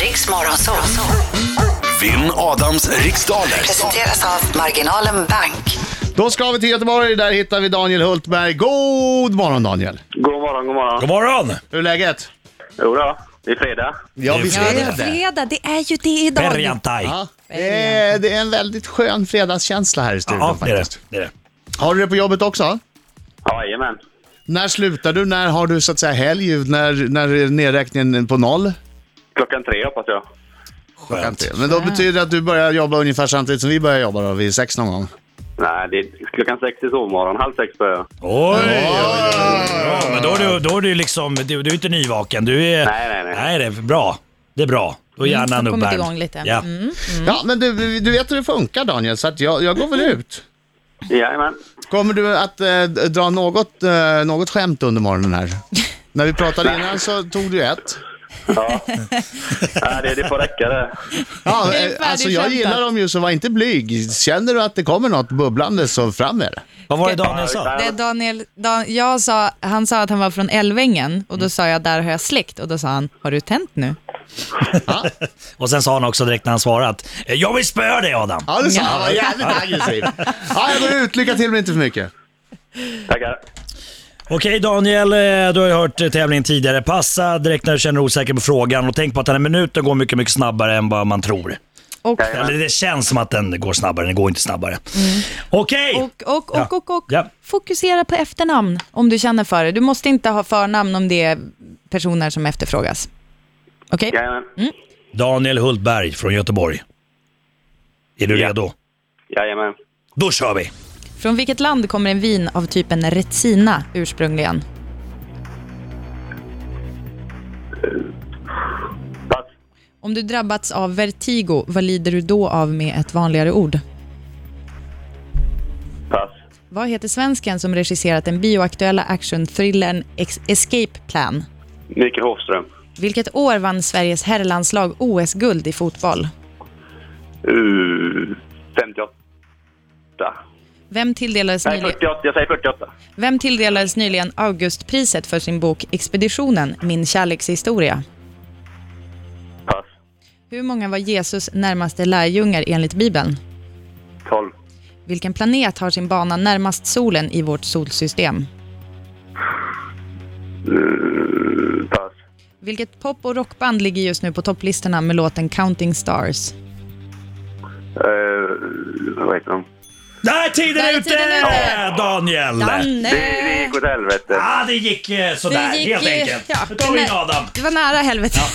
Riks Morgonzoo. Vinn Adams riksdaler. Presenteras av Marginalen Bank. Då ska vi till Göteborg, där hittar vi Daniel Hultberg. God morgon Daniel! God morgon, god morgon. God morgon! Hur är läget? Jo då, det är fredag. Ja, visst Ja, Ja, det är är det. fredag. Det är ju det idag. Berjantaj! Ja, det är, det är en väldigt skön fredagskänsla här i studion Ja, det är det. faktiskt. det, är det. Har du det på jobbet också? Ja, Jajamän. När slutar du? När har du så att säga helg? När, när är nedräkningen på noll? Klockan tre hoppas jag. Skönt. Men då betyder det att du börjar jobba ungefär samtidigt som vi börjar jobba då, vid sex någon gång. Nej, det är klockan sex i sovmorgon. Halv sex börjar jag. Oj, oj, oj, oj. Bra, men då är du, då är du liksom, du, du är inte nyvaken. Du är... Nej, nej, nej. det är bra. Det är bra. Då är Mm, hjärnan så kommit uppvärmd. igång lite. Ja. Mm. Ja, men du, du vet hur det funkar Daniel, så att jag, jag går väl ut. Jajamän. Kommer du att eh, dra något, eh, något skämt under morgonen här? När vi pratade innan så tog du ett. Ja. Nej, det, det får räcka det. Ja, Det är eh, alltså jag färdigkämpat. gillar dem ju, så var inte blyg. Känner du att det kommer något bubblande så fram med det. Vad var det Daniel sa? Det är Daniel, Dan, jag sa, han sa att han var från Älvängen och Mm. då sa jag där har jag släkt och då sa han har du tänt nu? Och sen sa han också direkt när han svarat. "Eh, Jag vill spöa dig Adam! Ja, det sa Ja. han. var jävligt aggressiv. Ja, jag går ut. Lycka till men inte för mycket. Tackar. Okej Daniel, eh, du har ju hört eh, tävlingen tidigare. Passa direkt när du känner dig osäker på frågan och tänk på att den här minuten går mycket, mycket snabbare än vad man tror. Och, Jajamän. Eller det känns som att den går snabbare, den går inte snabbare. Okej! och, och, och, och, och Ja. fokusera på efternamn om du känner för det. Du måste inte ha förnamn om det är personer som efterfrågas. Okej? Jajamän. Daniel Hultberg från Göteborg. Är du Ja. redo? Jajamän. Då kör vi! Från vilket land kommer en vin av typen Retsina ursprungligen? Pass. Om du drabbats av vertigo, vad lider du då av med ett vanligare ord? Pass. Vad heter svensken som regisserat den bioaktuella actionthrillern Ex- Escape Plan? Mikael Hofström. Vilket år vann Sveriges herrlandslag OS-guld i fotboll? Uh, 58. Vem tilldelades, Nej, nyligen, 48. Jag säger 48. vem tilldelades nyligen Augustpriset för sin bok Expeditionen, min kärlekshistoria? Pass. Hur många var Jesus närmaste lärjungar enligt Bibeln? 12. Vilken planet har sin bana närmast solen i vårt solsystem? Uh, pass. Vilket pop och rockband ligger just nu på topplistorna med låten Counting Stars? Uh, vad heter de? Där är tiden Där är ute! tiden ute! Daniel! Det, det gick åt helvete. Ah, det gick eh, sådär Det gick, helt eh, enkelt. ja, nu tar vi in nej. Adam. Det var nära helvete.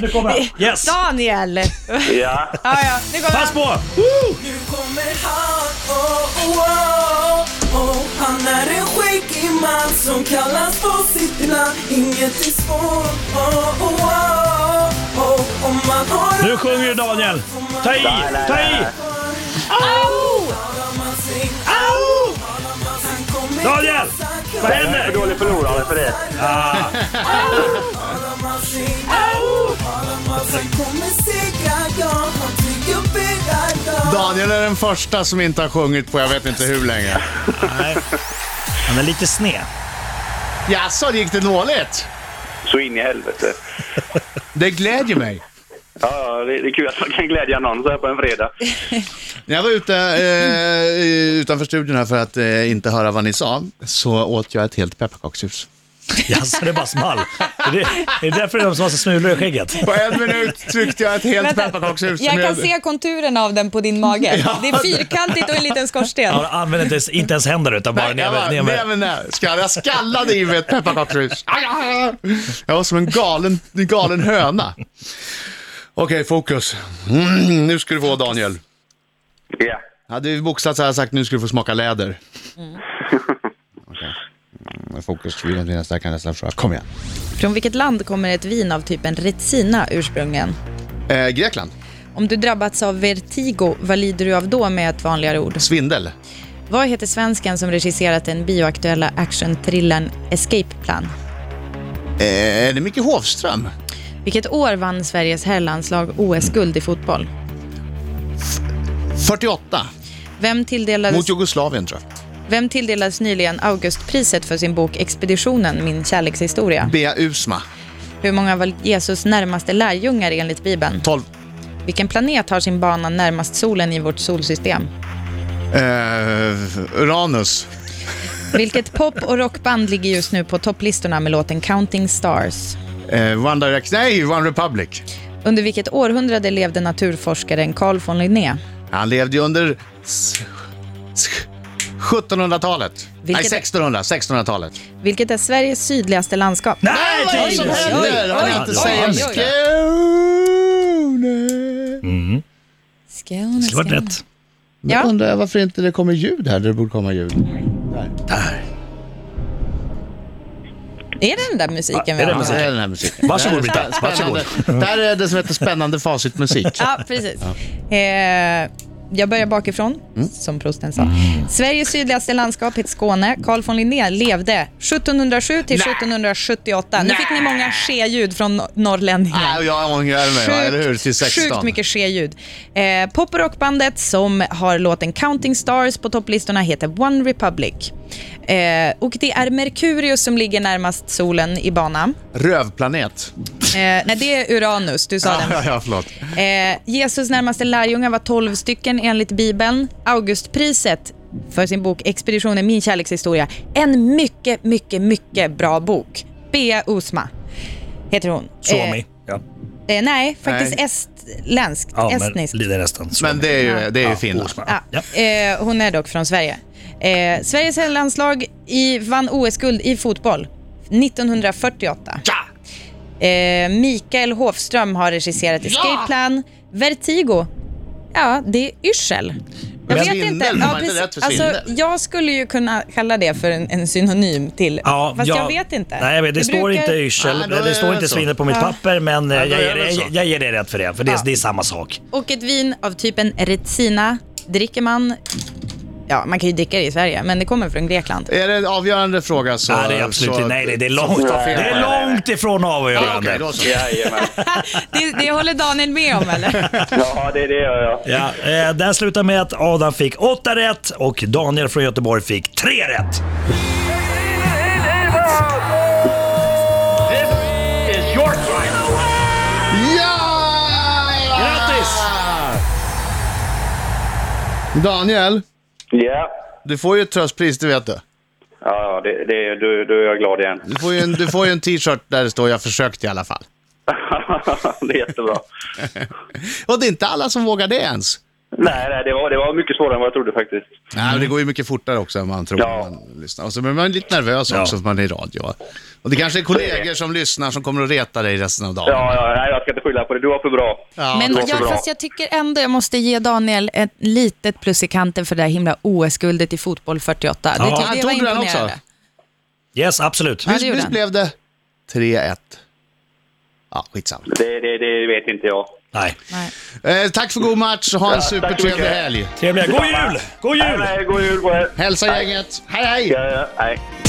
Nu kommer han. Yes! Daniel! Ja. Ja, ja, nu kommer Pass på! Nu kommer han, oh, oh, oh, oh. Han är en skäggig man som kallas på sitt namn Inget är svårt, oh, oh, oh, oh. Om man har Nu sjunger du Daniel. Ta i, Nej, nej, ta i! nej, Au! Au! Daniel! Vad Jag är för händer? dålig förlorare för det. Daniel är den första som inte har sjungit på jag vet inte hur länge. Nej. Han är lite sned. Jaså, det gick det dåligt? Så in i helvete. Det glädjer mig. Ja, det, det är kul att man kan glädja någon så här på en fredag. När jag var ute eh, utanför studion här för att eh, inte höra vad ni sa, så åt jag ett helt pepparkakshus. Jaså, det bara small. Är det, är det därför det är de som har så smulor i skägget? På en minut tryckte jag ett helt pepparkakshus. Jag kan med- se konturen av den på din mage. Det är fyrkantigt och en liten skorsten. Han använder inte ens, inte ens händer utan bara Nej, jag, bara, ner med- ner nej, med... men nej, skall, jag skallade i mig ett pepparkakshus. Aj, aj, aj. Jag var som en galen, en galen höna. Okej, fokus. Mm, nu ska du få Daniel. Ja. Hade vi boxat så hade jag sagt nu ska du få smaka läder. Okej. Mm, Fokus, vill inte nästa kan nästa fråga. Kom igen. Från vilket land kommer ett vin av typen Retsina ursprungligen? Eh, Grekland, Om du drabbats av vertigo, vad lider du av då med ett vanligare ord? svindel. Eh, Vad heter svensken som regisserat den bioaktuella actionthrillern Escape Plan? Eh, är det Micke Hofström? Vilket år vann Sveriges herrlandslag OS-guld i fotboll? 48, Vem tilldelades... mot Jugoslavien tror jag. Vem tilldelades nyligen Augustpriset för sin bok Expeditionen, min kärlekshistoria? Bea Usma. Hur många var Jesus närmaste lärjungar enligt Bibeln? 12. Vilken planet har sin bana närmast solen i vårt solsystem? Eh, Uranus. Vilket pop och rockband ligger just nu på topplistorna med låten Counting Stars? Eh, One Direction. Nej, One Republic. Under vilket århundrade levde naturforskaren Carl von Linné? Han levde ju under s- s- 1700-talet. Nej, Vilket- 1600. 1600-talet. Vilket är Sveriges sydligaste landskap? Nej, Vad är det som Oj, oj, händer? oj, Har ni inte oj, säger oj. Skåne? Skåne, Det var rätt. Jag undrar varför inte det kommer ljud här där det borde komma ljud. Är det den där musiken vi är det har? Det är den här musiken. Varsågod, Det här är Britta. Varsågod. spännande. Det här är det som heter spännande facitmusik. Ja, precis. Eh, jag börjar bakifrån, Mm. som prosten sa. Sveriges sydligaste landskap heter Skåne. Carl von Linné levde 1707 till 1778. Nu fick ni många ske-ljud från Ah, norrlänningar. Nej, och jag ångrar mig, va? eller hur? Till 16. sjukt mycket ske-ljud. Eh, pop och rockbandet som har låten Counting Stars på topplistorna heter One Republic. Eh, och det är Merkurius som ligger närmast solen i banan. Rövplanet. Eh, nej, det är Uranus. Du sa Ja, den. ja, ja, förlåt. Eh, Jesus närmaste lärjungar var 12 stycken enligt Bibeln. Augustpriset för sin bok Expeditionen min kärlekshistoria. En mycket, mycket, mycket bra bok. Bea Usma heter hon. Suomi. Ja, Eh, eh, nej, faktiskt Nej. estländskt. ja estnisk. men det är nästan. Suomi. Men det är ju, det är ju Ja, Finland. Osman. Ja. Ja. Eh, hon är dock från Sverige. Eh, Sveriges landslag i, vann OS-guld i fotboll 1948. Eh, Mikael Hofström har regisserat Escape Plan. Vertigo. Ja, det är yrsel. Jag Men svindel, får man inte rätt för alltså, svindel? jag skulle ju kunna kalla det för en, en synonym till, Ja, fast jag ja. vet inte. Nej, jag vet, det, står brukar- inte yrsel, Nej, då är det står det inte så. svinet på mitt papper, men eh, då jag, är ger, det så. jag, jag ger dig rätt för det, för det, är- det är samma sak. Och ett vin av typen Retsina dricker man, ja man kan ju dricka det i Sverige, men det kommer från Grekland. Är det en avgörande fråga så... nej, det är absolut så, inte. Nej, det, det är långt, så- det är långt ifrån Ja, avgörande. Okej, då så. Jajamän. Det, det håller Daniel med om eller? Ja, det är det gör jag. Ja, eh, den slutar med att Adam fick åtta rätt och Daniel från Göteborg fick tre rätt. Ja! Grattis! Daniel, Ja, du får ju ett tröstpris, det vet du. ja det, det, du, du är jag glad igen. Du får ju en, du får ju en t-shirt där det står “Jag försökte i alla fall”. det är jättebra. Och det är inte alla som vågar det ens. Nej, nej det, var, det var mycket svårare än vad jag trodde faktiskt. Nej, men det går ju mycket fortare också än man tror. Ja. När man lyssnar. Och så blir man lite nervös också för man är i radio. Och det kanske är kollegor som lyssnar som kommer att reta dig resten av dagen. Ja, ja, nej, jag ska inte skylla på det. Du var för bra. Ja, Men det låter jag, bra. fast jag tycker ändå jag måste ge Daniel ett litet plus i kanten för det här himla OS-guldet i fotboll 48. Det, Ja. tyckte Han det tog var den också. imponerande. Yes, absolut. Ja, det Visst, gjorde visst han. blev det 3-1? Ja, skitsamma. Det, det, det vet inte jag. Nej. Nej. Eh, tack för god match och ha en tack så supertrevlig mycket. helg. Trevliga. God jul! God jul! Nej, god jul på er. Hälsa gänget. Hej, hej! Ja, ja, nej.